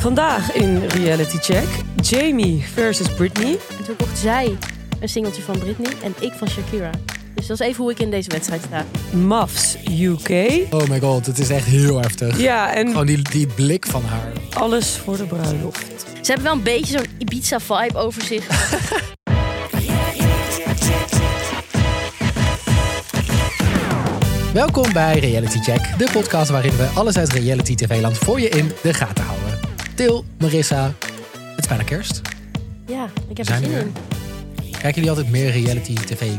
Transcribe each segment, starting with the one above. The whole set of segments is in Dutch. Vandaag in Reality Check Jamie versus Britney. En toen kocht zij een singeltje van Britney en ik van Shakira. Dus dat is even hoe ik in deze wedstrijd sta. Mavs UK. Oh my god, het is echt heel heftig. Ja, en Gewoon die, die blik van haar. alles voor de bruiloft. Ze hebben wel een beetje zo'n Ibiza-vibe over zich. Welkom bij Reality Check, de podcast waarin we alles uit reality tv-land voor je in de gaten houden. Til, Marissa, het is bijna kerst. Ja, ik heb er Zijn zin we in. Kijken jullie altijd meer reality tv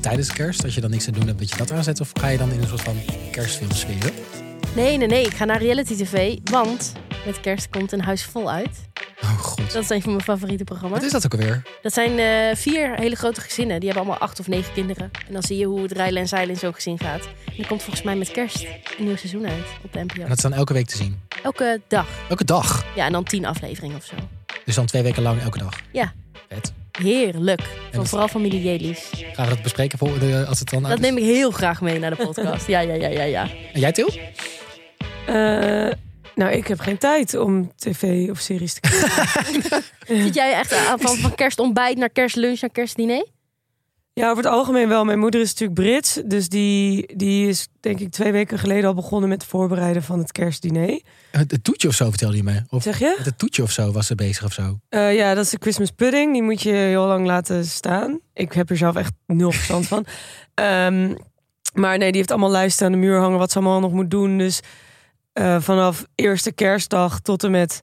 tijdens kerst? Als je dan niks te doen hebt, dat je dat aanzet? Of ga je dan in een soort van kerstfilm sfeer? Nee, nee, nee. Ik ga naar reality tv, want met kerst komt een huis vol uit. Oh god. Dat is een van mijn favoriete Wat programma's. is dat ook alweer? Dat zijn eh, vier hele grote gezinnen. Die hebben allemaal acht of negen kinderen. En dan zie je hoe het rijlen en zeilen in zo'n gezin gaat. En er komt volgens mij met kerst een nieuw seizoen uit op de NPO. En dat is dan elke week te zien. Elke dag. Elke dag. Ja, en dan tien afleveringen of zo. Dus dan twee weken lang elke dag. Ja. Vet. Heerlijk. Van dat- vooral familie Jelies. Gaan we dat bespreken voor de, als het dan uit Dat is? neem ik heel graag mee naar de podcast. Ja, ja, ja, ja, ja. En jij Til? Eh, nou, ik heb geen tijd om tv of series te kijken. Zit jij echt aan van, van kerstontbijt naar kerstlunch naar kerstdiner? Ja, over het algemeen wel. Mijn moeder is natuurlijk Brits. Dus die, die is denk ik twee weken geleden al begonnen met het voorbereiden van het kerstdiner. Het, het toetje of zo vertelde je mij. Of Zeg je? met het toetje of zo was ze bezig of zo. Eh, ja, dat is de Christmas pudding. Die moet je heel lang laten staan. Ik heb er zelf echt nul verstand van. Ehm, maar nee, die heeft allemaal lijsten aan de muur hangen wat ze allemaal nog moet doen. Dus eh, vanaf eerste kerstdag tot en met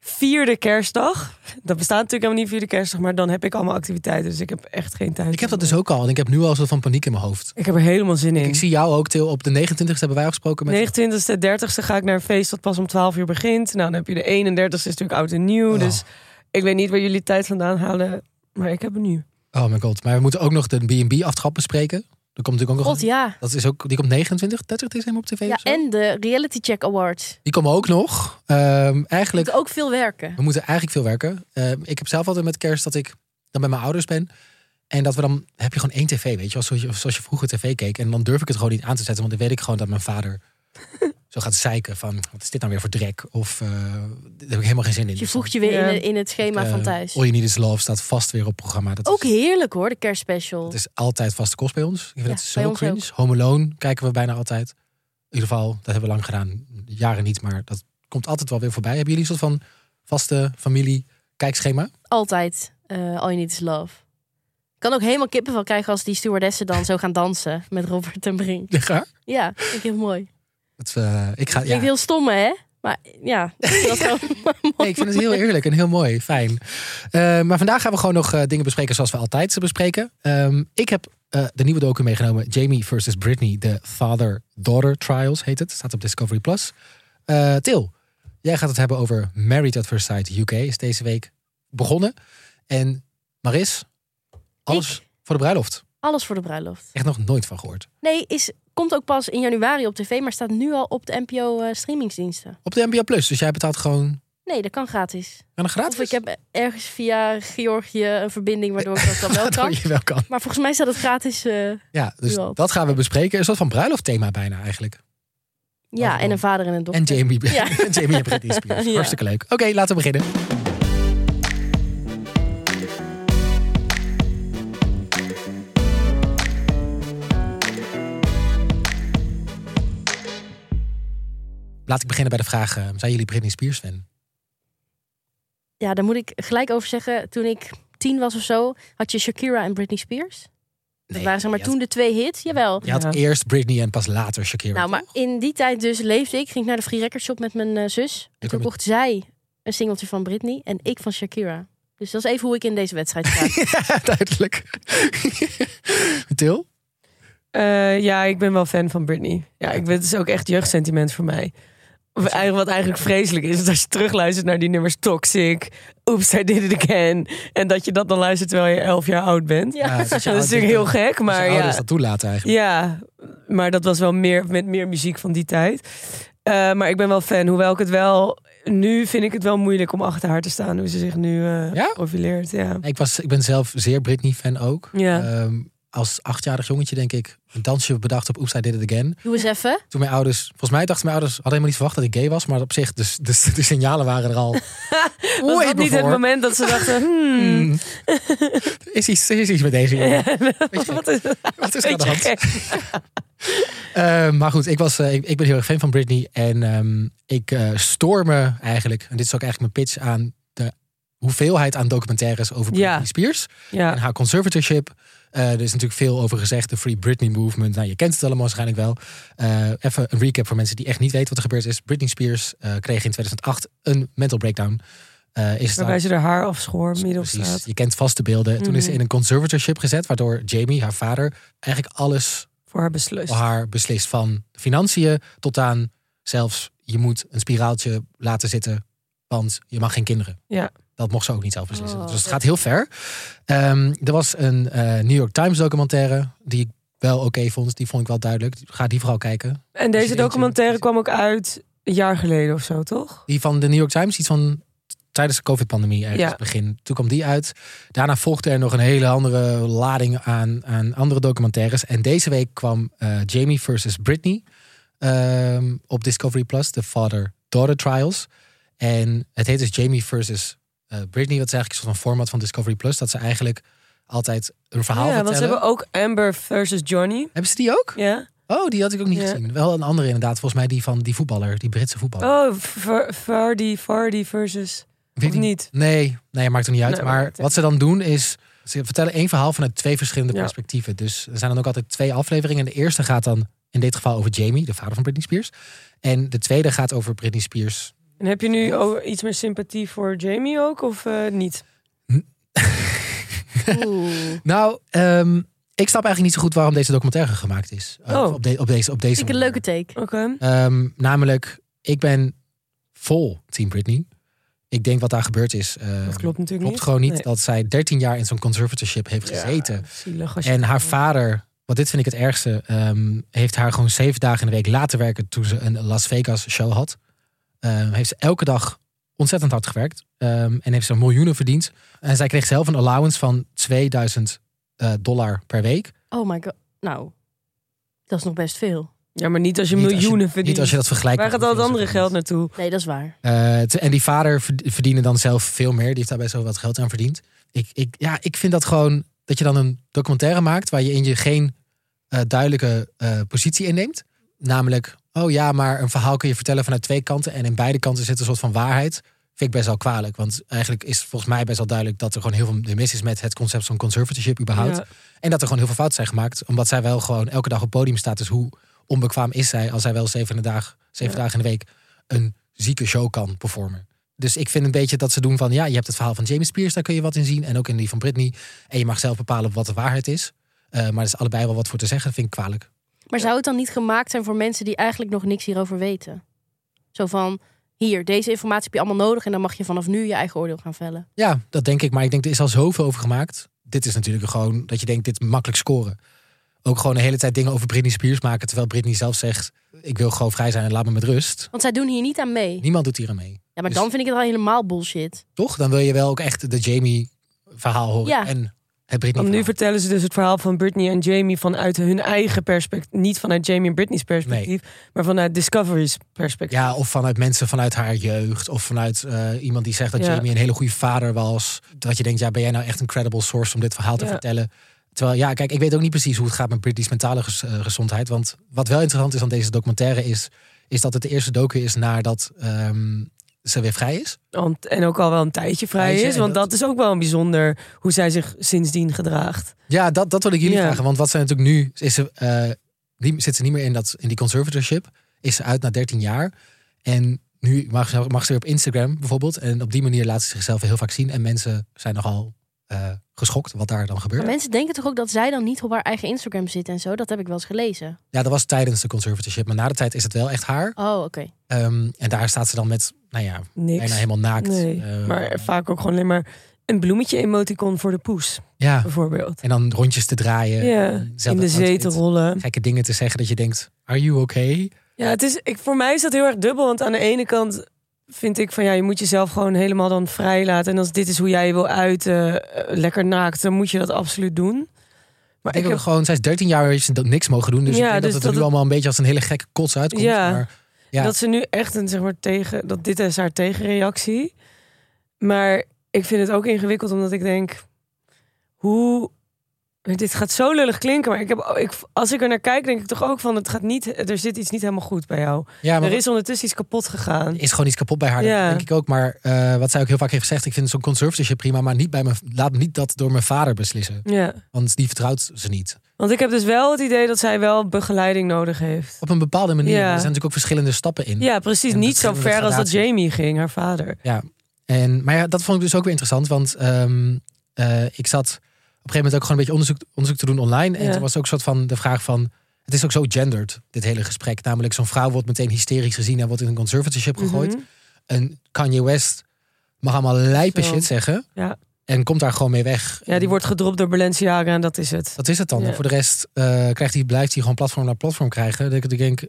vierde kerstdag. Dat bestaat natuurlijk helemaal niet vierde kerstdag, maar dan heb ik allemaal activiteiten. Dus ik heb echt geen tijd. Ik heb om- dat dus ook al. En ik heb nu al een soort van paniek in mijn hoofd. Ik heb er helemaal zin in. Ik zie jou ook, Til. Op de 29e hebben wij afgesproken met... 29e, 30e ga ik naar een feest dat pas om 12 uur begint. Nou, dan heb je de 31 is natuurlijk oud en nieuw. Oh. Dus ik weet niet waar jullie tijd vandaan halen, maar ik heb het nu. Oh mijn god. Maar we moeten ook nog de B&B-aftrap bespreken. Dat komt natuurlijk ook nog... God, ja. Dat is ook, die komt 29, 30 december op tv Ja, of zo? en de Reality Check Awards. Die komen ook nog. Ehm, eigenlijk, Moet ook veel werken. we moeten eigenlijk veel werken. Ehm, ik heb zelf altijd met kerst dat ik dan bij mijn ouders ben. En dat we dan, heb je gewoon één tv, weet je wel. Zoals je, zoals je vroeger tv keek. En dan durf ik het gewoon niet aan te zetten. Want dan weet ik gewoon dat mijn vader zo gaat zeiken van... Wat is dit nou weer voor drek? Of eh, daar heb ik helemaal geen zin in. Dus je voegt je weer Ja. in, in het schema Eh, van thuis. All You Need Is Love staat vast weer op programma. Dat Ook is, heerlijk hoor, de kerstspecial. dat is altijd vaste kost bij ons. Ik vind Ja, dat bij zo ons cringe. Home Alone kijken we bijna altijd. In ieder geval, dat hebben we lang gedaan. Jaren niet, maar dat komt altijd wel weer voorbij. Hebben jullie een soort van vaste familie kijkschema? Altijd. eh All You Need Is Love. Ik kan ook helemaal kippenvel krijgen als die stewardessen dan zo gaan dansen met Robert en Brink. Ja, ga. Ja, vind ik heel mooi. Dat, eh, ik, ga ja. Klinkt heel stom hè? Maar ja, ik vind dat gewoon Nee, ik vind het heel eerlijk en heel mooi. Fijn. Eh, maar vandaag gaan we gewoon nog eh, dingen bespreken zoals we altijd ze bespreken. Ehm, ik heb eh, de nieuwe docu meegenomen. Jamie versus Britney. De Father-Daughter Trials heet het. Staat op Discovery+. Plus. Eh, Til, jij gaat het hebben over Married at First Sight UK. Is deze week begonnen. En Maris, alles Ik? voor de bruiloft. alles voor de bruiloft. Echt nog nooit van gehoord. Nee, is, komt ook pas in januari op tv, maar staat nu al op de NPO eh, streamingsdiensten. Op de NPO Plus. Dus jij betaalt gewoon Nee, dat kan gratis. aan een gratis. Of ik heb ergens via Georgië een verbinding waardoor ik dat dan wel Waardoor kan. je wel kan. Maar volgens mij staat het gratis. eh, Ja, dus Nu al. dat gaan we bespreken. Een soort van bruiloftthema bijna eigenlijk. ja, en een vader en een dochter. En Jamie, Ja. en Jamie en Britney Spears. Ja. Hartstikke leuk. Oké, laten we beginnen. Laat ik beginnen bij de vraag, eh, zijn jullie Britney Spears fan? Ja, daar moet ik gelijk over zeggen. Toen ik tien was of zo, had je Shakira en Britney Spears. Dat waren zeg maar je toen de twee hits. Jawel. had, je had Ja. eerst Britney en pas later Shakira. Nou, maar in die tijd dus leefde ik. Ging ik naar de Free Record Shop met mijn eh, zus. En heb toen het- kocht zij een singeltje van Britney en ik van Shakira. Dus dat is even hoe ik in deze wedstrijd sta. Duidelijk. Til? Eh, ja, ik ben wel fan van Britney. Ja, ik weet, het is ook echt jeugdsentiment voor mij. Of eigenlijk, wat eigenlijk vreselijk is, is als je terugluistert naar die nummers Toxic, Oops, I Did It Again. En dat je dat dan luistert terwijl je elf jaar oud bent. Ja. dat dat is natuurlijk heel gek, maar dus- ouders ja, dat toelaten eigenlijk. ja. Maar dat was wel meer met meer muziek van die tijd. Eh, maar ik ben wel fan, hoewel ik het wel... Nu vind ik het wel moeilijk om achter haar te staan, hoe ze zich nu eh Ja? profileert. Ja. Ik, was, ik ben zelf zeer Britney-fan ook. Ja. Ehm, als achtjarig jongetje, denk ik, een dansje bedacht op Oops, I Did It Again. Doe eens even. Toen mijn ouders, volgens mij dachten mijn ouders, hadden helemaal niet verwacht dat ik gay was. Maar op zich, dus, dus de signalen waren er al. Was way dat niet het before. moment dat ze dachten, hmm, Hmm. Er is iets, er is iets met deze jongen. Weet je, wat is dat? wat is er aan Weet de je, hand? gek. Eh, maar goed, ik, was, eh, ik, ik ben heel erg fan van Britney. En ehm, ik eh stoor me eigenlijk, en dit is ook eigenlijk mijn pitch aan de hoeveelheid aan documentaires over Ja. Britney Spears. En Ja, haar conservatorship. Eh, er is natuurlijk veel over gezegd, de Free Britney Movement. Nou, je kent het allemaal waarschijnlijk wel. Eh, even een recap voor mensen die echt niet weten wat er gebeurd is. Britney Spears eh, kreeg in 2008 een mental breakdown. Eh, is het waarbij ze haar haar afschoor midden op Precies. straat Je kent vast de beelden. Toen is ze Mhm. in een conservatorship gezet, waardoor Jamie, haar vader, eigenlijk alles voor haar beslust. voor haar beslist. Van financiën tot aan zelfs je moet een spiraaltje laten zitten, want je mag geen kinderen. Ja. Dat mocht ze ook niet zelf beslissen. Oh, dus het dat- gaat heel ver. Ehm, er was een eh, New York Times documentaire die ik wel oké vond. Die vond ik wel duidelijk. Ga die vooral kijken. En Als je deze eentje- documentaire kwam ook uit een jaar geleden of zo, toch? Die van de New York Times, iets van tijdens de COVID-pandemie ergens Ja. begin. Toen kwam die uit. Daarna volgde er nog een hele andere lading aan, aan andere documentaires. En deze week kwam eh, Jamie versus Britney ehm, op Discovery Plus, de Father-Daughter Trials. En het heet dus Jamie versus eh, Britney. Dat is eigenlijk een soort van format van Discovery Plus. Dat ze eigenlijk altijd een verhaal ja, vertellen. want ze hebben ook Amber versus Johnny. Hebben ze die ook? Ja. Oh, die had ik ook niet Ja. gezien. Wel een andere inderdaad, volgens mij die van die voetballer, die Britse voetballer. Oh, Ver- Vardy, Vardy versus... Weet Of ik- niet? Nee, nee, maakt er niet uit. Nee, maar maakt niet wat ze dan doen is, ze vertellen één verhaal vanuit twee verschillende Ja. perspectieven. Dus er zijn dan ook altijd twee afleveringen. De eerste gaat dan in dit geval over Jamie, de vader van Britney Spears. En de tweede gaat over Britney Spears. En heb je nu ook iets meer sympathie voor Jamie ook, of eh, niet? Oeh. Nou, ehm, ik snap eigenlijk niet zo goed waarom deze documentaire gemaakt is. Eh, Oh. Op, de- op deze, op deze Vind ik een manier. leuke take. Oké. Ehm, namelijk, ik ben vol Team Britney. Ik denk wat daar gebeurd is. ehm, Dat klopt natuurlijk klopt niet. gewoon niet Nee. dat zij 13 jaar in zo'n conservatorship heeft gezeten. Ja, zielig als je- En haar vader, wat dit vind ik het ergste, ehm, heeft haar gewoon zeven dagen in de week laten werken toen ze een Las Vegas show had. Ehm, heeft ze elke dag ontzettend hard gewerkt ehm, en heeft ze miljoenen verdiend. En zij kreeg zelf een allowance van 2000 eh, dollar per week. Oh my god. Nou, dat is nog best veel. Ja, maar niet als je Niet als je- miljoenen verdient. Niet als je dat vergelijkt. Waar met gaat al het hoeveel ze andere geld verdient. naartoe? Nee, dat is waar. Eh, t- en die vader verd- verdiende dan zelf veel meer. Die heeft daar best wel wat geld aan verdiend. Ik, ik, ja, ik vind dat gewoon dat je dan een documentaire maakt waar je in je geen eh, duidelijke eh, positie inneemt. Namelijk, oh ja, maar een verhaal kun je vertellen vanuit twee kanten. En in beide kanten zit een soort van waarheid. Vind ik best wel kwalijk. Want eigenlijk is volgens mij best wel duidelijk dat er gewoon heel veel mis is met het concept van conservatorship überhaupt. Ja. En dat er gewoon heel veel fouten zijn gemaakt. Omdat zij wel gewoon elke dag op het podium staat. Dus hoe onbekwaam is zij als zij wel zeven, dag, zeven Ja. dagen in de week een zieke show kan performen. Dus ik vind een beetje dat ze doen van... ja, je hebt het verhaal van James Spears, daar kun je wat in zien. En ook in die van Britney. En je mag zelf bepalen wat de waarheid is. Eh, maar er is allebei wel wat voor te zeggen. vind ik kwalijk. Maar zou het dan niet gemaakt zijn voor mensen die eigenlijk nog niks hierover weten? Zo van, hier, deze informatie heb je allemaal nodig en dan mag je vanaf nu je eigen oordeel gaan vellen. Ja, dat denk ik. Maar ik denk, er is al zoveel over gemaakt. Dit is natuurlijk gewoon dat je denkt, dit makkelijk scoren. Ook gewoon de hele tijd dingen over Britney Spears maken... terwijl Britney zelf zegt, ik wil gewoon vrij zijn en laat me met rust. Want zij doen hier niet aan mee. Niemand doet hier aan mee. Ja, maar dus- dan vind ik het al helemaal bullshit. toch? Dan wil je wel ook echt de Jamie verhaal horen. Ja. En het Britney Want nu verhaal. vertellen ze dus het verhaal van Britney en Jamie vanuit hun eigen perspectief. Niet vanuit Jamie en Britney's perspectief, maar vanuit Discovery's perspectief. Ja, of vanuit mensen vanuit haar jeugd. Of vanuit eh, iemand die zegt dat Ja. Jamie een hele goede vader was. Dat je denkt, ja, ben jij nou echt een credible source om dit verhaal te Ja. vertellen? Terwijl, ja, kijk, ik weet ook niet precies hoe het gaat met Britney's mentale ges- eh, gezondheid. Want wat wel interessant is aan deze documentaire is... is dat het de eerste docu is nadat ehm, ze weer vrij is. Want, en ook al wel een tijdje vrij Tijdje, is. en Want dat- dat is ook wel een bijzonder hoe zij zich sindsdien gedraagt. Ja, dat, dat wil ik jullie Ja. vragen. Want wat ze natuurlijk nu... Is ze, eh, die, zit ze niet meer in, dat, in die conservatorship. Is ze uit na 13 jaar. En nu mag, ze- mag ze weer op Instagram bijvoorbeeld. En op die manier laat ze zichzelf heel vaak zien. En mensen zijn nogal eh, geschokt wat daar dan Maar gebeurt. mensen denken toch ook dat zij dan niet op haar eigen Instagram zit en zo? Dat heb ik wel eens gelezen. Ja, dat was tijdens de conservatorship. Maar na de tijd is het wel echt haar. Oh, oké. Ehm, en daar staat ze dan met, nou ja, Niks. bijna helemaal naakt. Nee, Eh, maar vaak ook gewoon alleen maar een bloemetje emoticon voor de poes, ja, bijvoorbeeld. en dan rondjes te Ja, draaien. in de zee te zetel rollen. Gekke dingen te zeggen dat je denkt, are you okay? Ja, het is, ik, voor mij is dat heel erg dubbel. Want aan de ene kant vind ik van ja, je moet jezelf gewoon helemaal dan vrij laten. En als dit is hoe jij je wil uiten, eh, lekker naakt, dan moet je dat absoluut doen. Maar ik ik denk ook heb, gewoon, zij is 13 jaar, heeft ze dat niks mogen doen. Dus Ja, ik denk dus dat het er dat nu het- allemaal een beetje als een hele gekke kots uitkomt. Ja. Maar ja. dat ze nu echt een zeg maar tegen dat dit is haar tegenreactie. Maar ik vind het ook ingewikkeld omdat ik denk hoe dit gaat zo lullig klinken, maar ik heb ik, als ik er naar kijk denk ik toch ook van het gaat niet er zit iets niet helemaal goed bij jou. ja, maar er is ondertussen iets kapot gegaan. er is gewoon iets kapot bij haar. dat Ja. denk ik ook. Maar eh, wat zij ook heel vaak heeft gezegd, ik vind zo'n conservatorship prima, maar niet bij mijn, laat me niet dat door mijn vader beslissen. Ja. Want die vertrouwt ze niet. Want ik heb dus wel het idee dat zij wel begeleiding nodig heeft. Op een bepaalde manier. Ja. Er zijn natuurlijk ook verschillende stappen in. Ja, precies. En Niet zo verschillende ver als Mm. dat gradaties. Jamie ging, haar vader. En, maar ja, dat vond ik dus ook weer interessant. Want ehm, eh, ik zat op een gegeven moment ook gewoon een beetje onderzoek, onderzoek te doen online. En Ja. toen was ook een soort van de vraag van... Het is ook zo gendered, dit hele gesprek. Namelijk, zo'n vrouw wordt meteen hysterisch gezien... en wordt in een conservatorship gegooid. Mhm. En Kanye West mag allemaal lijpe Zo. shit zeggen. Ja. En komt daar gewoon mee weg. Ja, die wordt gedropt door Balenciaga en dat is het. Dat is het dan. Ja. En voor de rest eh, krijgt hij, blijft hij gewoon platform naar platform krijgen. Dat ik- ik denk,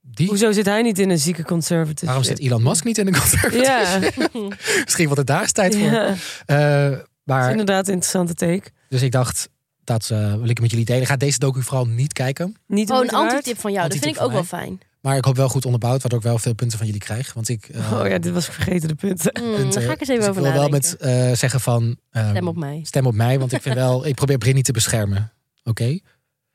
die, Hoezo zit hij niet in een zieke conservative? waarom zit Elon Musk niet in een conservatorship? Ja, Misschien wordt het daar eens tijd voor. ja. dat Eh, is maar inderdaad een interessante take. Dus ik dacht, dat eh, wil ik met jullie delen. Ga deze docu vooral niet kijken. Niet de Oh, een moeite waard? anti-tip van jou. Dat vind ik ook wel Anti-tip fijn. Maar ik hoop wel goed onderbouwd, waardoor ik wel veel punten van jullie krijg. Want ik, eh, Oh ja, dit was ik vergeten, de punten. Hmm, punten- daar ga ik eens dus even over wil wel nadenken. met eh, zeggen van... ehm, Stem op mij. stem op mij, want ik vind wel... Ik probeer Britney te beschermen, oké?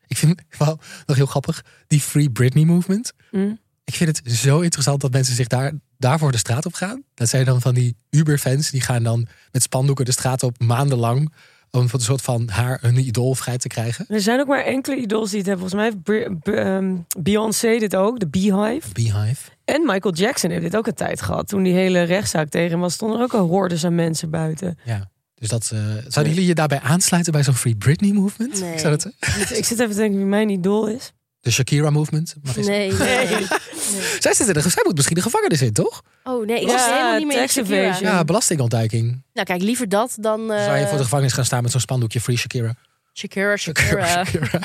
Ik vind wel nog heel grappig, die Free Britney movement. Mm. Hm? Ik vind het zo interessant dat mensen zich daar, daarvoor de straat op gaan. Dat zijn dan van die Uber-fans, die gaan dan met spandoeken de straat op maandenlang... om een soort van haar, hun idool vrij te krijgen. Er zijn ook maar enkele idols die het hebben. Volgens mij heeft Br- B- ehm, Beyoncé dit ook, de Beehive. Beehive. En Michael Jackson heeft dit ook een tijd gehad. Toen die hele rechtszaak tegen hem was, stonden er ook al hordes aan mensen buiten. Dus dat, eh, zouden jullie je daarbij aansluiten bij zo'n Free Britney movement? Nee. Ik zou dat, eh, ik zit even te denken wie mijn idool is. de Shakira movement? Mag eens- Nee, nee. nee. Zij, zit in de, zij moet misschien de gevangenis in, toch? Oh nee, ik Ja, was helemaal niet meer in tax Shakira. evasion. Ja, belastingontduiking. Nou kijk, liever dat dan eh, zou je voor de gevangenis gaan staan met zo'n spandoekje Free Shakira? Shakira, Shakira. Shakira.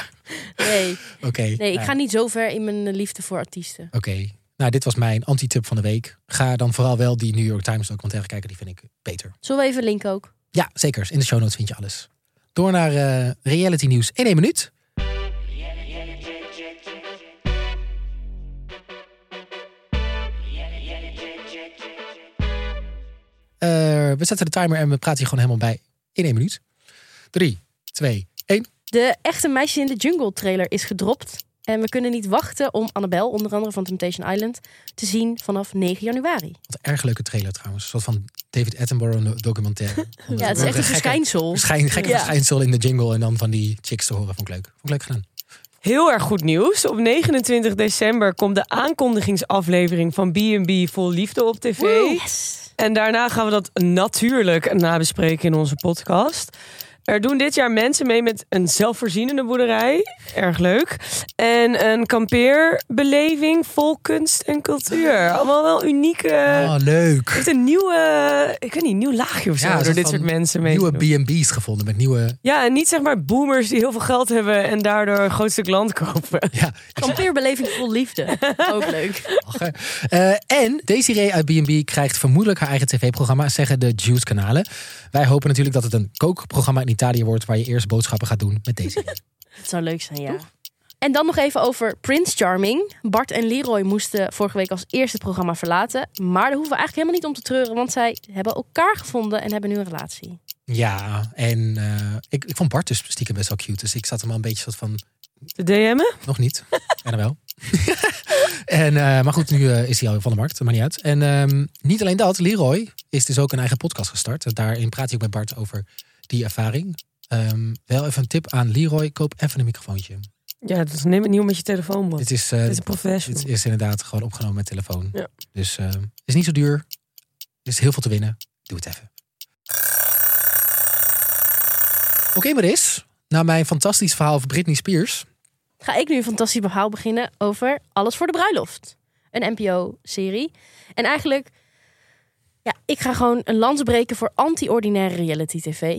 Nee, Oké. nee, ik nou, ga niet zo ver in mijn eh, liefde voor artiesten. Oké. Nou, dit was mijn anti-tip van de week. Ga dan vooral wel die New York Times documentaire kijken. Die vind ik beter. Zullen we even link ook? Ja, zeker. In de show notes vind je alles. Door naar eh, reality nieuws in één minuut. Eh, we zetten de timer en we praten hier gewoon helemaal bij. In één minuut. Drie, twee, één. De echte meisje in de jungle trailer is gedropt. En we kunnen niet wachten om Annabel, onder andere van Temptation Island, te zien vanaf 9 januari. Wat een erg leuke trailer trouwens. Een soort van David Attenborough no- documentaire. Ja, het is echt een gekke, verschijnsel. verschijn, gekke Ja. verschijnsel in de jingle. En dan van die chicks te horen. Vond ik leuk. Vond ik leuk gedaan. Heel erg goed nieuws. Op 29 december komt de aankondigingsaflevering van B&B Vol Liefde op tv. Yes. En daarna gaan we dat natuurlijk nabespreken in onze podcast. Er doen dit jaar mensen mee met een zelfvoorzienende boerderij. Erg leuk. En een kampeerbeleving vol kunst en cultuur. Allemaal wel unieke... Oh, leuk. Eh, Het heeft een nieuwe, ik weet niet, een nieuw laagje of zo Ja, een door soort dit van soort mensen mee te doen. nieuwe B&B's gevonden met nieuwe... Ja, en niet zeg maar boomers die heel veel geld hebben en daardoor een groot stuk land kopen. Ja, Kampeerbeleving vol liefde. Ook leuk. lachen. Eh, en Desiree uit B&B krijgt vermoedelijk haar eigen tv-programma, zeggen de Juice kanalen. Wij hopen natuurlijk dat het een kookprogramma in Italië wordt, waar je eerst boodschappen gaat doen met Desiree. Het zou leuk zijn, ja. En dan nog even over Prince Charming. Bart en Leroy moesten vorige week als eerste het programma verlaten. Maar daar hoeven we eigenlijk helemaal niet om te treuren, want zij hebben elkaar gevonden en hebben nu een relatie. ja, en eh, ik, ik vond Bart dus stiekem best wel cute, dus ik zat hem al een beetje soort van, De DM'en? nog niet, bijna wel. en, eh, maar goed, nu eh, is hij al van de markt, dat maakt niet uit. En ehm, niet alleen dat, Leroy is dus ook een eigen podcast gestart. En Daarin praat hij ook met Bart over die ervaring. Ehm, wel even een tip aan Leroy, koop even een microfoontje. Ja, dus neem het niet om met je telefoon, man. Dit Dit is, eh, is een professional. Dit is inderdaad gewoon opgenomen met telefoon. Ja. Dus eh, het is niet zo duur. Er is heel veel te winnen. Doe het even. Oké, maar is. Na mijn fantastisch verhaal over Britney Spears. ga ik nu een fantastisch verhaal beginnen over Alles voor de Bruiloft. Een NPO-serie. En eigenlijk, ja, ik ga gewoon een lans breken voor anti-ordinaire reality-tv. Eh,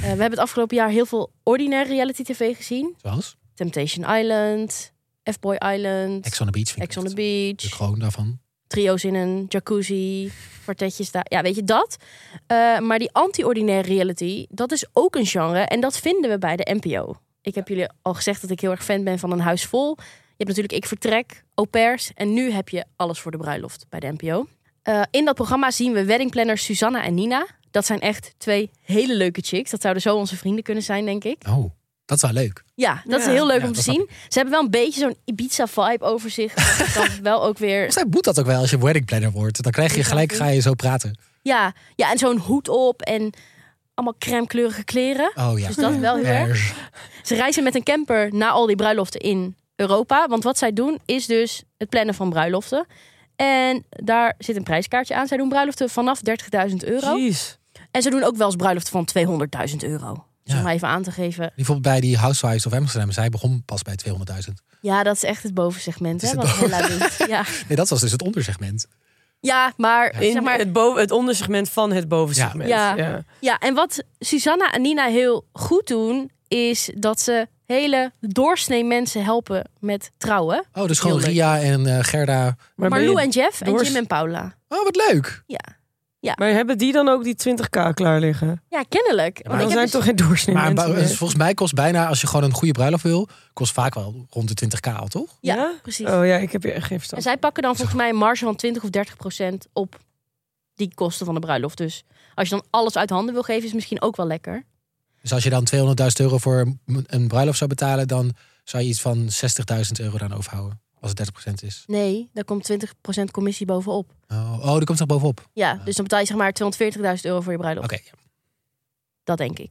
we hebben het afgelopen jaar heel veel ordinaire reality-tv gezien. Zoals? Temptation Island, F-Boy Island, Ex on the Beach. vind ik Ex on the echt De Beach, kroon daarvan. trio's in een jacuzzi, kwartetjes daar. Ja, weet je dat? Eh, maar die anti-ordinaire reality, dat is ook een genre en dat vinden we bij de NPO. Ik heb jullie al gezegd dat ik heel erg fan ben van een huis vol. Je hebt natuurlijk Ik Vertrek, Au Pairs en nu heb je Alles voor de Bruiloft bij de NPO. Eh, in dat programma zien we weddingplanners Susanna en Nina. Dat zijn echt twee hele leuke chicks. Dat zouden zo onze vrienden kunnen zijn, denk ik. Oh, dat is wel leuk. Ja, dat is Ja. heel leuk Ja, om te dat snap zien. Ze hebben wel een beetje zo'n Ibiza-vibe over zich. Dat kan wel ook weer... Volgens mij moet dat ook wel als je wedding planner wordt. Dan krijg je gelijk, ga je zo praten. Ja, ja en zo'n hoed op en allemaal crème kleurige kleren. Oh ja. Dus dat is wel heel erg. Erg. Ze reizen met een camper naar al die bruiloften in Europa. Want wat zij doen is dus het plannen van bruiloften. En daar zit een prijskaartje aan. Zij doen bruiloften vanaf 30.000 euro. Jeez. En ze doen ook wel eens bruiloften van 200.000 euro. Dus Ja. om maar even aan te geven. Bijvoorbeeld bij die Housewives of Amsterdam. Zij begon pas bij 200.000. Ja, dat is echt het bovensegment. Dat Hè, is wat het Hella doet. Ja. Nee, dat was dus het ondersegment. ja, maar In zeg maar het, boven, het ondersegment van het bovensegment. Ja. Ja. Ja. Ja, en wat Susanna en Nina heel goed doen, is dat ze hele doorsnee mensen helpen met trouwen. Oh, dus gewoon Heel leuk. Ria en eh, Gerda. Maar, ben Marlou je- en Jeff en doors- Jim en Paula. Oh, wat leuk. maar hebben die dan ook die 20k klaar liggen? Ja, kennelijk. maar Want Dan zijn ik heb er dus- toch geen doorsnee Maar mensen ba- meer? volgens mij kost bijna, als je gewoon een goede bruiloft wil, kost vaak wel rond de 20k al, toch? Ja, precies. Oh ja, ik heb hier echt geen verstand. En zij pakken dan volgens mij een marge van 20 of 30 procent op die kosten van de bruiloft. Dus als je dan alles uit handen wil geven, is het misschien ook wel lekker. Dus als je dan 200.000 euro voor een- een bruiloft zou betalen, dan zou je iets van 60.000 euro dan overhouden. Als het 30% is. Nee, daar komt 20 procent commissie bovenop. Oh, oh dat komt er bovenop. Oké. Ja, dus dan betaal je zeg maar 240.000 euro voor je bruiloft. ja. Dat denk ik.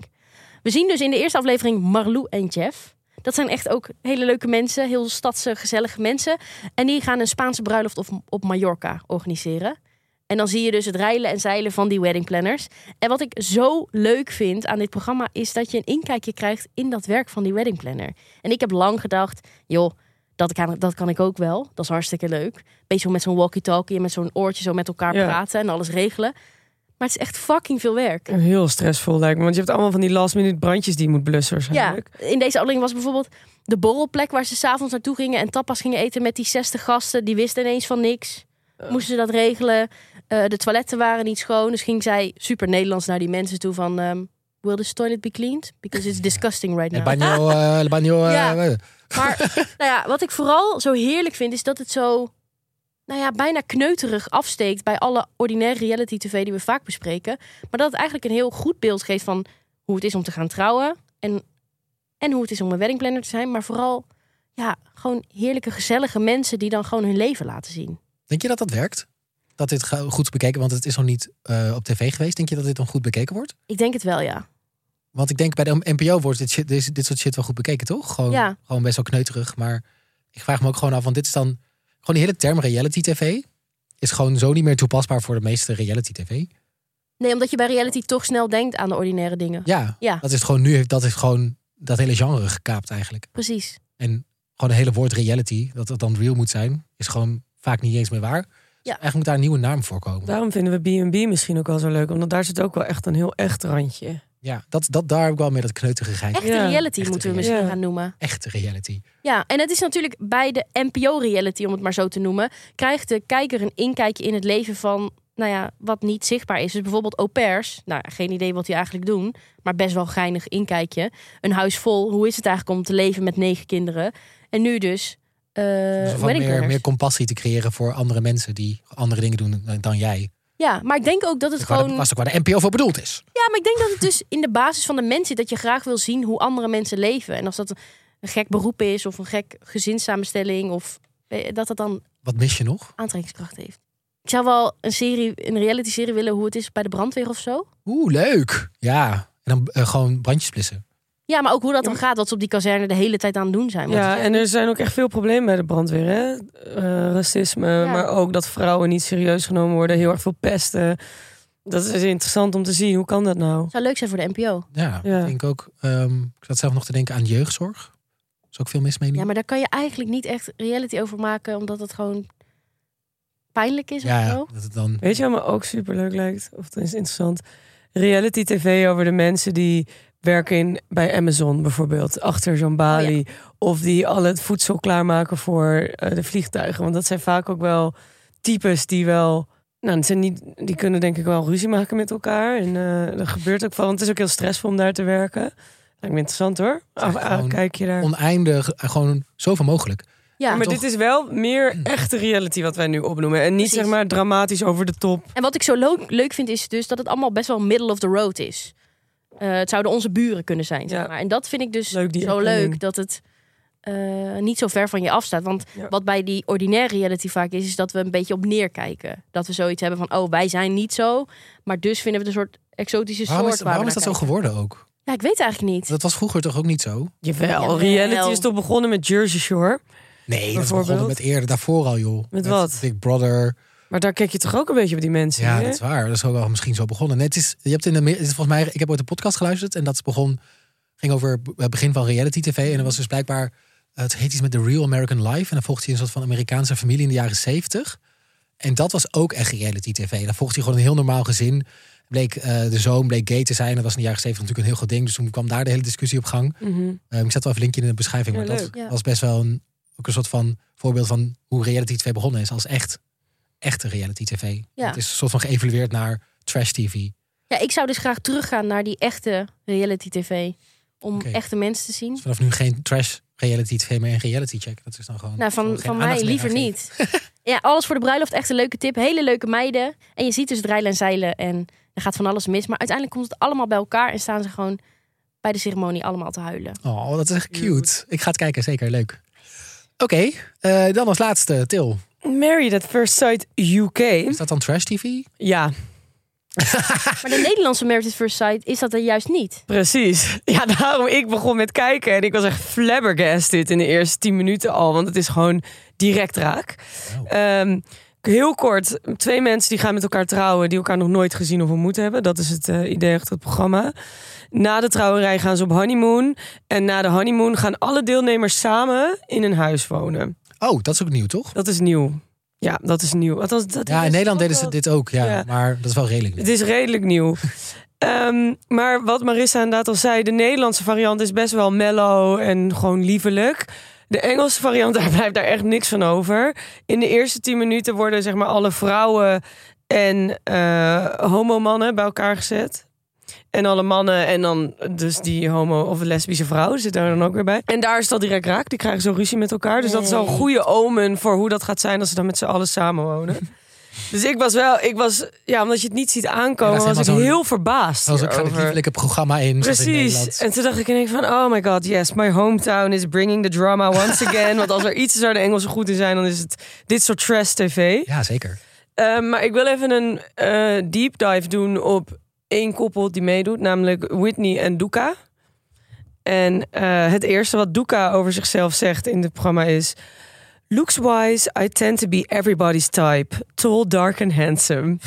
We zien dus in de eerste aflevering Marlou en Jeff. Dat zijn echt ook hele leuke mensen, heel stadse, gezellige mensen. En die gaan een Spaanse bruiloft op, op Mallorca organiseren. En dan zie je dus het reilen en zeilen van die weddingplanners. En wat ik zo leuk vind aan dit programma is dat je een inkijkje krijgt in dat werk van die weddingplanner. En ik heb lang gedacht, joh, dat kan, dat kan ik ook wel. Dat is hartstikke leuk. Beetje zo met zo'n walkie-talkie en met zo'n oortje zo met elkaar Ja. praten en alles regelen. Maar het is echt fucking veel werk. Heel stressvol lijkt me. Want je hebt allemaal van die last minute brandjes die je moet blussen Ja, waarschijnlijk. in deze aflevering was bijvoorbeeld de borrelplek waar ze s'avonds naartoe gingen en tapas gingen eten met die 60 gasten. Die wisten ineens van niks. Moesten ze dat regelen? Eh, de toiletten waren niet schoon. Dus ging zij super Nederlands naar die mensen toe van... ehm, Will this toilet be cleaned? Because it's disgusting right El now. bagno, eh, el bagno, eh, Ja. eh, Maar nou ja, wat ik vooral zo heerlijk vind is dat het zo... Nou ja, bijna kneuterig afsteekt bij alle ordinaire reality tv die we vaak bespreken. Maar dat het eigenlijk een heel goed beeld geeft van hoe het is om te gaan trouwen. En, en hoe het is om een weddingplanner te zijn. Maar vooral, ja, gewoon heerlijke, gezellige mensen die dan gewoon hun leven laten zien. Denk je dat dat werkt? Dat dit ge- goed is bekeken, want het is nog niet eh, op tv geweest. Denk je dat dit dan goed bekeken wordt? Ik denk het wel, ja. Want ik denk bij de NPO wordt dit, shit, dit, dit soort shit wel goed bekeken, toch? Gewoon, Ja. gewoon best wel kneuterig. Maar ik vraag me ook gewoon af, want dit is dan... Gewoon die hele term reality tv is gewoon zo niet meer toepasbaar voor de meeste reality tv. Nee, omdat je bij reality toch snel denkt aan de ordinaire dingen. Ja, Ja. dat is gewoon nu, dat is gewoon dat hele genre gekaapt eigenlijk. Precies. En gewoon het hele woord reality, dat dat dan real moet zijn, is gewoon vaak niet eens meer waar. Dus eigenlijk moet daar een nieuwe naam voor komen. Daarom vinden we B&B misschien ook wel zo leuk. Omdat daar zit ook wel echt een heel echt randje. Ja, dat, dat, daar heb ik wel mee dat kneuterigheid. Echte Ja. reality Echte moeten we reality. misschien Ja. gaan noemen. Echte reality. Ja, en het is natuurlijk bij de NPO-reality, om het maar zo te noemen, krijgt de kijker een inkijkje in het leven van, nou ja, wat niet zichtbaar is. Dus bijvoorbeeld au pairs, nou, geen idee wat die eigenlijk doen, maar best wel geinig inkijkje. Een huis vol, hoe is het eigenlijk om te leven met negen kinderen? En nu dus, eh Dus wedding van meer, planners. meer compassie te creëren voor andere mensen die andere dingen doen dan, dan jij. Ja, maar ik denk ook dat het Dat is waar gewoon... de- was ook waar de NPO voor bedoeld is. Ja, maar ik denk dat het dus in de basis van de mens zit dat je graag wil zien hoe andere mensen leven. En als dat een gek beroep is of een gek gezinssamenstelling of eh, dat dat dan Wat mis je nog? aantrekkingskracht heeft. Ik zou wel een serie, een reality serie willen hoe het is bij de brandweer of zo. Oeh, leuk. Ja, en dan eh, gewoon brandjes blissen. Ja, maar ook hoe dat dan gaat, wat ze op die kazerne de hele tijd aan het doen zijn. Want Ja, en er zijn ook echt veel problemen bij de brandweer. Hè? Eh, racisme, maar ook dat vrouwen niet serieus genomen worden. Heel erg veel pesten. Dat is interessant om te zien. Hoe kan dat nou? het zou leuk zijn voor de NPO. Ja, Ja. ik denk ook. ehm, ik zat zelf nog te denken aan jeugdzorg. Is ook veel mis mee nu. Ja, maar daar kan je eigenlijk niet echt reality over maken, omdat het gewoon pijnlijk is ja, of ja, zo. dat het dan. Weet je wat me ook superleuk lijkt? Of dat is interessant. Reality tv over de mensen die werken in, bij Amazon bijvoorbeeld. Achter Oh, zo'n balie. Of die al het voedsel klaarmaken voor eh, de vliegtuigen. Want dat zijn vaak ook wel types die wel... Nou, het zijn niet, die kunnen denk ik wel ruzie maken met elkaar. En eh, dat gebeurt ook wel. Want het is ook heel stressvol om daar te werken. Lijkt me interessant hoor. Af, echt gewoon kijk je daar. Oneindig, eh, gewoon zoveel mogelijk. Ja, maar toch? dit is wel meer echte reality wat wij nu opnoemen. En niet Precies. zeg maar dramatisch over de top. En wat ik zo lo- leuk vind is dus dat het allemaal best wel middle of the road is. Eh, het zouden onze buren kunnen zijn, zeg Ja. maar. En dat vind ik dus Leuk, die zo erkenning. leuk, dat het eh, niet zo ver van je afstaat. Want Ja. wat bij die ordinaire reality vaak is, is dat we een beetje op neerkijken. Dat we zoiets hebben van, oh, wij zijn niet zo, maar dus vinden we het een soort exotische Waarom soort. is, waarom is dat zo geworden ook? Ja, ik weet eigenlijk niet. Dat was vroeger toch ook niet zo? Jawel, Jawel. reality is toch begonnen met Jersey Shore. Nee, dat is Bijvoorbeeld? begonnen met eerder, daarvoor al joh. Met wat? Big Brother. Maar daar kijk je toch ook een beetje op die mensen. Ja, hè? dat is waar. Dat is ook wel misschien zo begonnen. Net is, je hebt in de, het is volgens mij, ik heb ooit een podcast geluisterd en dat begon, ging over het begin van reality tv. En er was dus blijkbaar, het heet iets met The Real American Life. En dan volgt hij een soort van Amerikaanse familie in de jaren zeventig. En dat was ook echt reality tv. Dan volgt hij gewoon een heel normaal gezin. Bleek, eh, de zoon bleek gay te zijn. Dat was in de jaren zeventig natuurlijk een heel groot ding. Dus toen kwam daar de hele discussie op gang. Mhm. Ehm, ik zet wel even een linkje in de beschrijving. Ja, Maar dat leuk. Ja. was best wel een, ook een soort van voorbeeld van hoe reality tv begonnen is. Als echt, echte reality tv. Ja. Het is een soort van geëvalueerd naar trash tv. Ja, ik zou dus graag teruggaan naar die echte reality tv. Om Oké. echte mensen te zien. Dus vanaf nu geen trash reality tv meer en reality check. Dat is dan gewoon... Nou, gewoon van, geen van aandacht mij meer liever aan geven. niet. ja, alles voor de bruiloft. Echt een leuke tip. Hele leuke meiden. En je ziet dus het reilen en zeilen. En er gaat van alles mis. Maar uiteindelijk komt het allemaal bij elkaar. En staan ze gewoon bij de ceremonie allemaal te huilen. Oh, dat is echt Ja, cute. Ik ga het kijken, zeker. Leuk. Oké, eh, dan als laatste, Til. Married at First Sight UK. Is dat dan trash tv? Ja, Maar de Nederlandse Merit at First Sight is dat er juist niet. precies. Ja, daarom ik begon met kijken. En ik was echt flabbergasted in de eerste 10 minuten al. Want het is gewoon direct raak. Oh. Ehm, heel kort, twee mensen die gaan met elkaar trouwen... die elkaar nog nooit gezien of ontmoet hebben. Dat is het eh, idee achter het programma. Na de trouwerij gaan ze op honeymoon. En na de honeymoon gaan alle deelnemers samen in een huis wonen. Oh, dat is ook nieuw, toch? Dat is nieuw. Ja, dat is nieuw. Althans, dat Ja, is in Nederland ook deden ze wel- dit ook, ja. Ja. Maar dat is wel redelijk. nieuw. Het is redelijk nieuw. Ehm, maar wat Marissa inderdaad al zei, de Nederlandse variant is best wel mellow en gewoon liefelijk. De Engelse variant, daar blijft daar echt niks van over. In de eerste tien minuten worden zeg maar alle vrouwen en eh homomannen bij elkaar gezet. En alle mannen en dan dus die homo- of lesbische vrouw zit daar dan ook weer bij. En daar is dat direct raak. Die krijgen zo ruzie met elkaar. Dus dat is al een Nee. goede omen voor hoe dat gaat zijn als ze dan met z'n allen samenwonen. Dus ik was wel, ik was, ja, omdat je het niet ziet aankomen, Ja, dat was is ik helemaal zo'n- heel verbaasd. Dat was ook zo'n hierover. lieflijke programma in. zoals in Nederland. Precies. En toen dacht ik ineens van, oh my god, yes, my hometown is bringing the drama once again. Want als er iets is waar de Engelsen goed in zijn, dan is het dit soort trash tv. Ja, zeker. Eh, maar ik wil even een eh, deep dive doen op één koppel die meedoet, namelijk Whitney en Duca. En eh, het eerste wat Duca over zichzelf zegt in het programma is: Looks wise, I tend to be everybody's type. Tall, dark and handsome.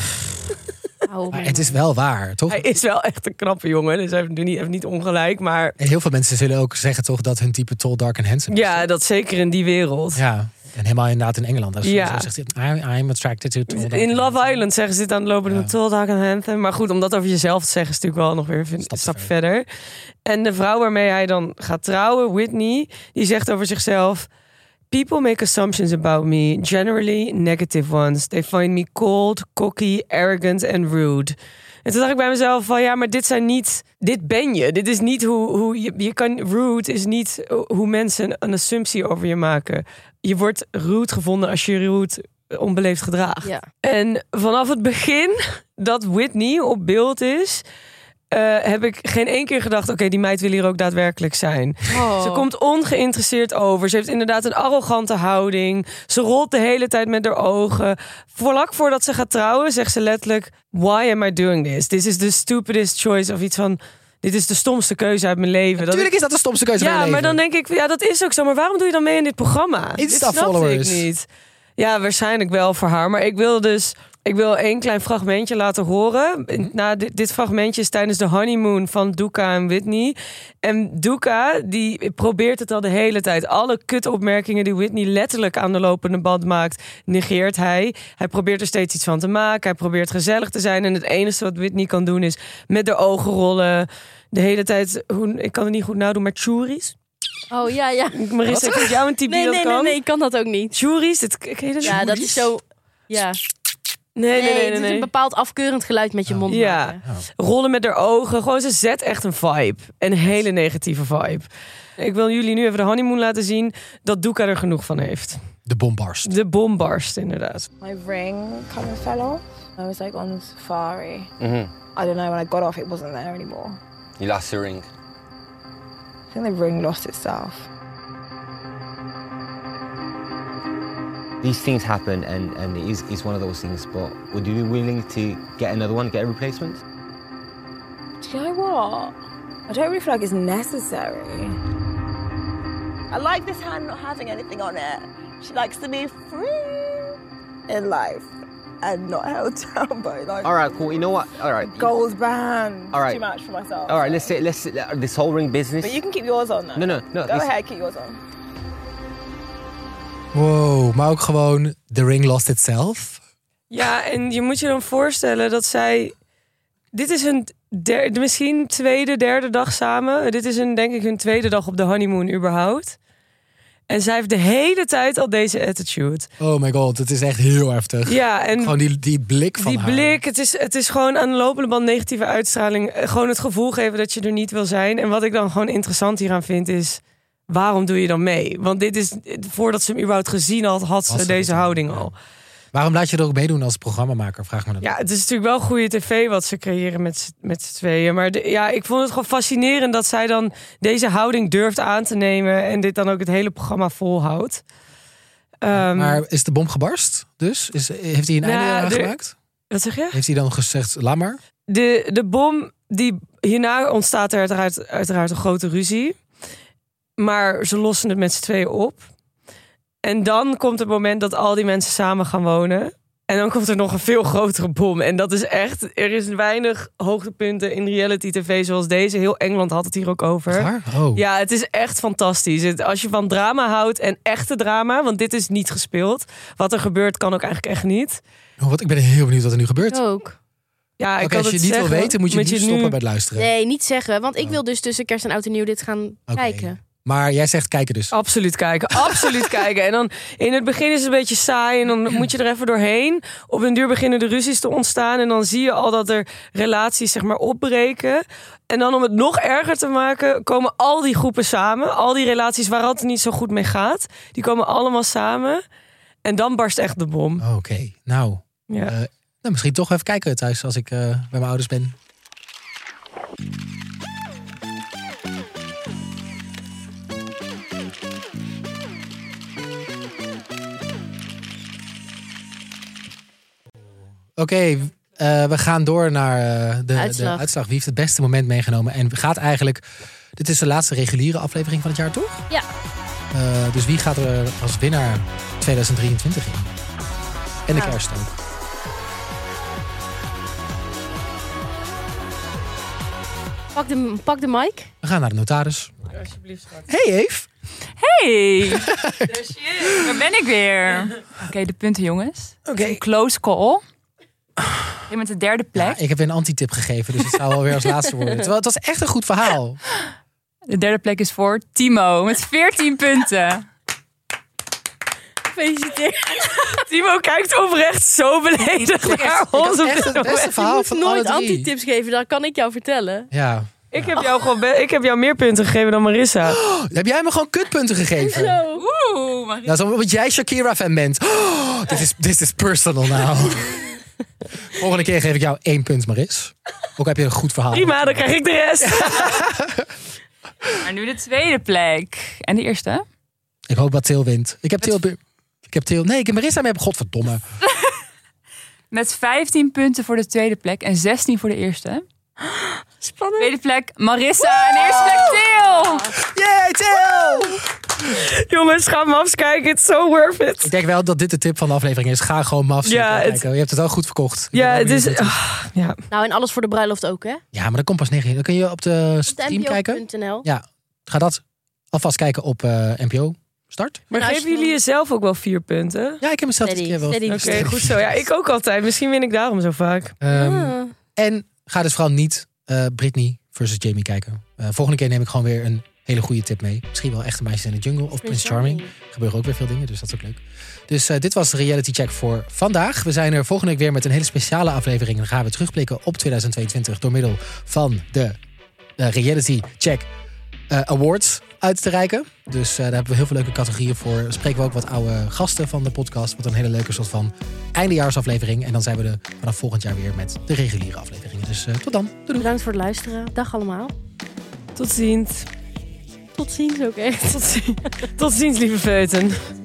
Oh, Hou Maar het is wel waar, toch? Hij is wel echt een knappe jongen, dus hij heeft nu niet, heeft niet ongelijk. Maar En heel veel mensen zullen ook zeggen toch dat hun type tall, dark en handsome is. ja, dat zeker in die wereld. Ja. En helemaal inderdaad in Engeland. Als je Ja. zo zegt, I'm, I'm attracted to tall, dark In and handsome." Love Island zeggen ze dit aan het lopen Ja. met Tall Dark and Handsome. Maar goed, om dat over jezelf te zeggen is natuurlijk wel nog weer een Stap stap, verder. En de vrouw waarmee hij dan gaat trouwen, Whitney, die zegt over zichzelf... People make assumptions about me, generally negative ones. They find me cold, cocky, arrogant and rude. En toen dacht ik bij mezelf van ja, maar dit zijn niet... Dit ben je. Dit is niet hoe, hoe je, je kan... Rude is niet hoe mensen een assumptie over je maken. Je wordt rude gevonden als je je rude onbeleefd gedraagt. Ja. En vanaf het begin dat Whitney op beeld is, eh, heb ik geen één keer gedacht: oké, die meid wil hier ook daadwerkelijk zijn. Ze Oh. komt ongeïnteresseerd over. Ze heeft inderdaad een arrogante houding. Ze rolt de hele tijd met haar ogen. Vlak voordat ze gaat trouwen, zegt ze letterlijk: Why am I doing this? This is the stupidest choice. Of iets van: Dit is de stomste keuze uit mijn leven. Dat Tuurlijk is dat de stomste keuze van ja, je maar leven. dan denk ik, ja, dat is ook zo. Maar waarom doe je dan mee in dit programma? Dit snapte Insta-followers. ik niet. Ja, waarschijnlijk wel voor haar. Maar ik wil dus, ik wil één klein fragmentje laten horen. Mhm. Na dit, dit fragmentje is tijdens de honeymoon van Duca en Whitney. En Duca, die probeert het al de hele tijd. Alle kutopmerkingen die Whitney letterlijk aan de lopende band maakt, negeert hij. Hij probeert er steeds iets van te maken. Hij probeert gezellig te zijn. En het enige wat Whitney kan doen is met de ogen rollen. De hele tijd, hoe, ik kan het niet goed nadoen, maar churis. Oh ja, ja. Marissa, ik vind jou een type Nee, die dat nee, kan. nee, nee, ik kan dat ook niet. Churis, dat, ken je dat? Ja, dat is zo. Ja. Nee, nee, nee. nee, het is nee. een bepaald afkeurend geluid met je Oh. mond Ja. maken. Rollen met haar ogen. Gewoon, ze zet echt een vibe. Een hele negatieve vibe. Ik wil jullie nu even de honeymoon laten zien dat Doeka er genoeg van heeft. De bombarst. De bom barst inderdaad. My ring kind of fell off. I was like on safari. Mm-hmm. I don't know, when I got off, it wasn't there anymore. You lost your ring. I think the ring lost itself. These things happen, and, and it is it's one of those things. But would you be willing to get another one, get a replacement? Do you know what? I don't really feel like it's necessary. I like this hand not having anything on it. She likes to be free in life and not held down by like All right, cool. You know what? All right, gold bands. All right. Too much for myself. All right, let's say let's say, uh, this whole ring business. But you can keep yours on though. No, no, no, Go this- ahead, keep yours on. Wow, maar ook gewoon The Ring Lost Itself. Ja, en je moet je dan voorstellen dat zij... Dit is hun derde, misschien tweede, derde dag samen. Dit is hun, denk ik hun tweede dag op de honeymoon überhaupt. En zij heeft de hele tijd al deze attitude. Oh my god, het is echt heel heftig. Ja, en Gewoon die, die blik van die haar. blik, het is, het is gewoon aan de lopende band negatieve uitstraling. Eh, Gewoon het gevoel geven dat je er niet wil zijn. En wat ik dan gewoon interessant hieraan vind is... waarom doe je dan mee? Want dit is, voordat ze hem überhaupt gezien had, had ze Was ze deze het al, houding ja. al. Waarom laat je er ook meedoen als programmamaker? Vraag me dat. Ja, het is natuurlijk wel goede tv wat ze creëren met, z'n- met z'n tweeën. Maar de- ja, ik vond het gewoon fascinerend dat zij dan deze houding durft aan te nemen. En dit dan ook het hele programma volhoudt. Ehm, Maar is de bom gebarst? Dus is, heeft hij een Nou, einde aan er- gemaakt? wat zeg je? Heeft hij dan gezegd, laat maar? de, de bom die hierna ontstaat er uiteraard, uiteraard een grote ruzie. Maar ze lossen het met z'n tweeën op. En dan komt het moment dat al die mensen samen gaan wonen. En dan komt er nog een veel grotere bom. En dat is echt, er is weinig hoogtepunten in reality tv zoals deze. Heel Engeland had het hier ook over. Waar? Oh. Ja, het is echt fantastisch. Het- als je van drama houdt en echte drama, want dit is niet gespeeld. Wat er gebeurt kan ook eigenlijk echt niet. Oh, wat, ik ben heel benieuwd wat er nu gebeurt. Ook. Ja, Oh, ik Oké, kan als je het niet zeggen, wil weten, moet je moet nu het stoppen bij het luisteren. Nee, niet zeggen. Want ik wil dus tussen kerst en oud en nieuw dit gaan Oh. Oké. kijken. Maar jij zegt kijken dus. Absoluut kijken, absoluut kijken. En dan in het begin is het een beetje saai en dan moet je er even doorheen. Op een duur beginnen de ruzies te ontstaan en dan zie je al dat er relaties zeg maar opbreken. En dan om het nog erger te maken komen al die groepen samen. Al die relaties waar het niet zo goed mee gaat, die komen allemaal samen. En dan barst echt de bom. Oké, nou, Ja. eh, nou, misschien toch even kijken thuis als ik eh, bij mijn ouders ben. Oké, eh, we gaan door naar eh, de, Uitslag. de uitslag. Wie heeft het beste moment meegenomen? En gaat eigenlijk, dit is de laatste reguliere aflevering van het jaar, toch? Ja. Eh, dus wie gaat er als winnaar 2023 in? En de Nou. kerst ook. Pak de, pak de mic. We gaan naar de notaris. Hey Eve. Hey! Daar ben ik weer. Oké, de punten jongens. Oké. Een close call. Je bent de derde plek. ik heb weer een antitip gegeven, dus het zou alweer als laatste worden. Terwijl het was echt een goed verhaal. De derde plek is voor Timo met 14 punten. Gefeliciteerd. Timo kijkt oprecht zo beledigd naar ons. op dit Echt het beste moment. verhaal van alle Nooit drie. anti-tips geven, dat kan ik jou vertellen. Ja. Ik heb jou gewoon, be- ik heb jou meer punten gegeven dan Marissa. Heb jij me gewoon kutpunten gegeven? Zo. Oeh, Marie. Dat is omdat jij Shakira-fan bent. Oh, dit is, dit is personal nou. Volgende keer geef ik jou één punt, Maris. Ook heb je een goed verhaal. Prima, dan krijg ik de rest. Maar nu de tweede plek. En de eerste? Ik hoop dat Til wint. Ik heb Til... Ik heb Til... Nee, ik heb Marissa mee. Godverdomme. Met 15 punten voor de tweede plek en 16 voor de eerste. Spannend. Tweede plek Marissa en de eerste plek Theo. Yay, Til! Jongens, ga Mavs kijken. It's so worth it. Ik denk wel dat dit de tip van de aflevering is. Ga gewoon maf Ja, het- kijken. Je hebt het wel goed verkocht. Ik Ja, ben het wel is. benieuwd wat- ah, ja. Nou, en alles voor de bruiloft ook, hè? Ja, maar dat komt pas 9. Dan kun je op de stream kijken. NPO.nl. Ja, ga dat alvast kijken op eh, NPO. Start. Maar Maar als geven je- jullie jezelf ook wel vier punten? Ja, ik heb mezelf dit Steady, keer wel. steady. Oké, goed zo. Ja, ik ook altijd. Misschien win ik daarom zo vaak. Ehm, Ah. En ga dus vooral niet eh, Britney versus Jamie kijken. Eh, volgende keer neem ik gewoon weer een Hele goede tip mee. Misschien wel Echte Meisjes in de Jungle of Prince Charming. Gebeuren ook weer veel dingen, dus dat is ook leuk. Dus eh, dit was de Reality Check voor vandaag. We zijn er volgende week weer met een hele speciale aflevering. En dan gaan we terugblikken op 2022 door middel van de eh, Reality Check eh, Awards uit te reiken. Dus eh, daar hebben we heel veel leuke categorieën voor. Spreken we ook wat oude gasten van de podcast. Wat een hele leuke soort van eindejaarsaflevering. En dan zijn we er vanaf volgend jaar weer met de reguliere afleveringen. Dus eh, tot dan. Doei doei. Bedankt voor het luisteren. Dag allemaal. Tot ziens. Tot ziens ook echt. Tot ziens, lieve feuten.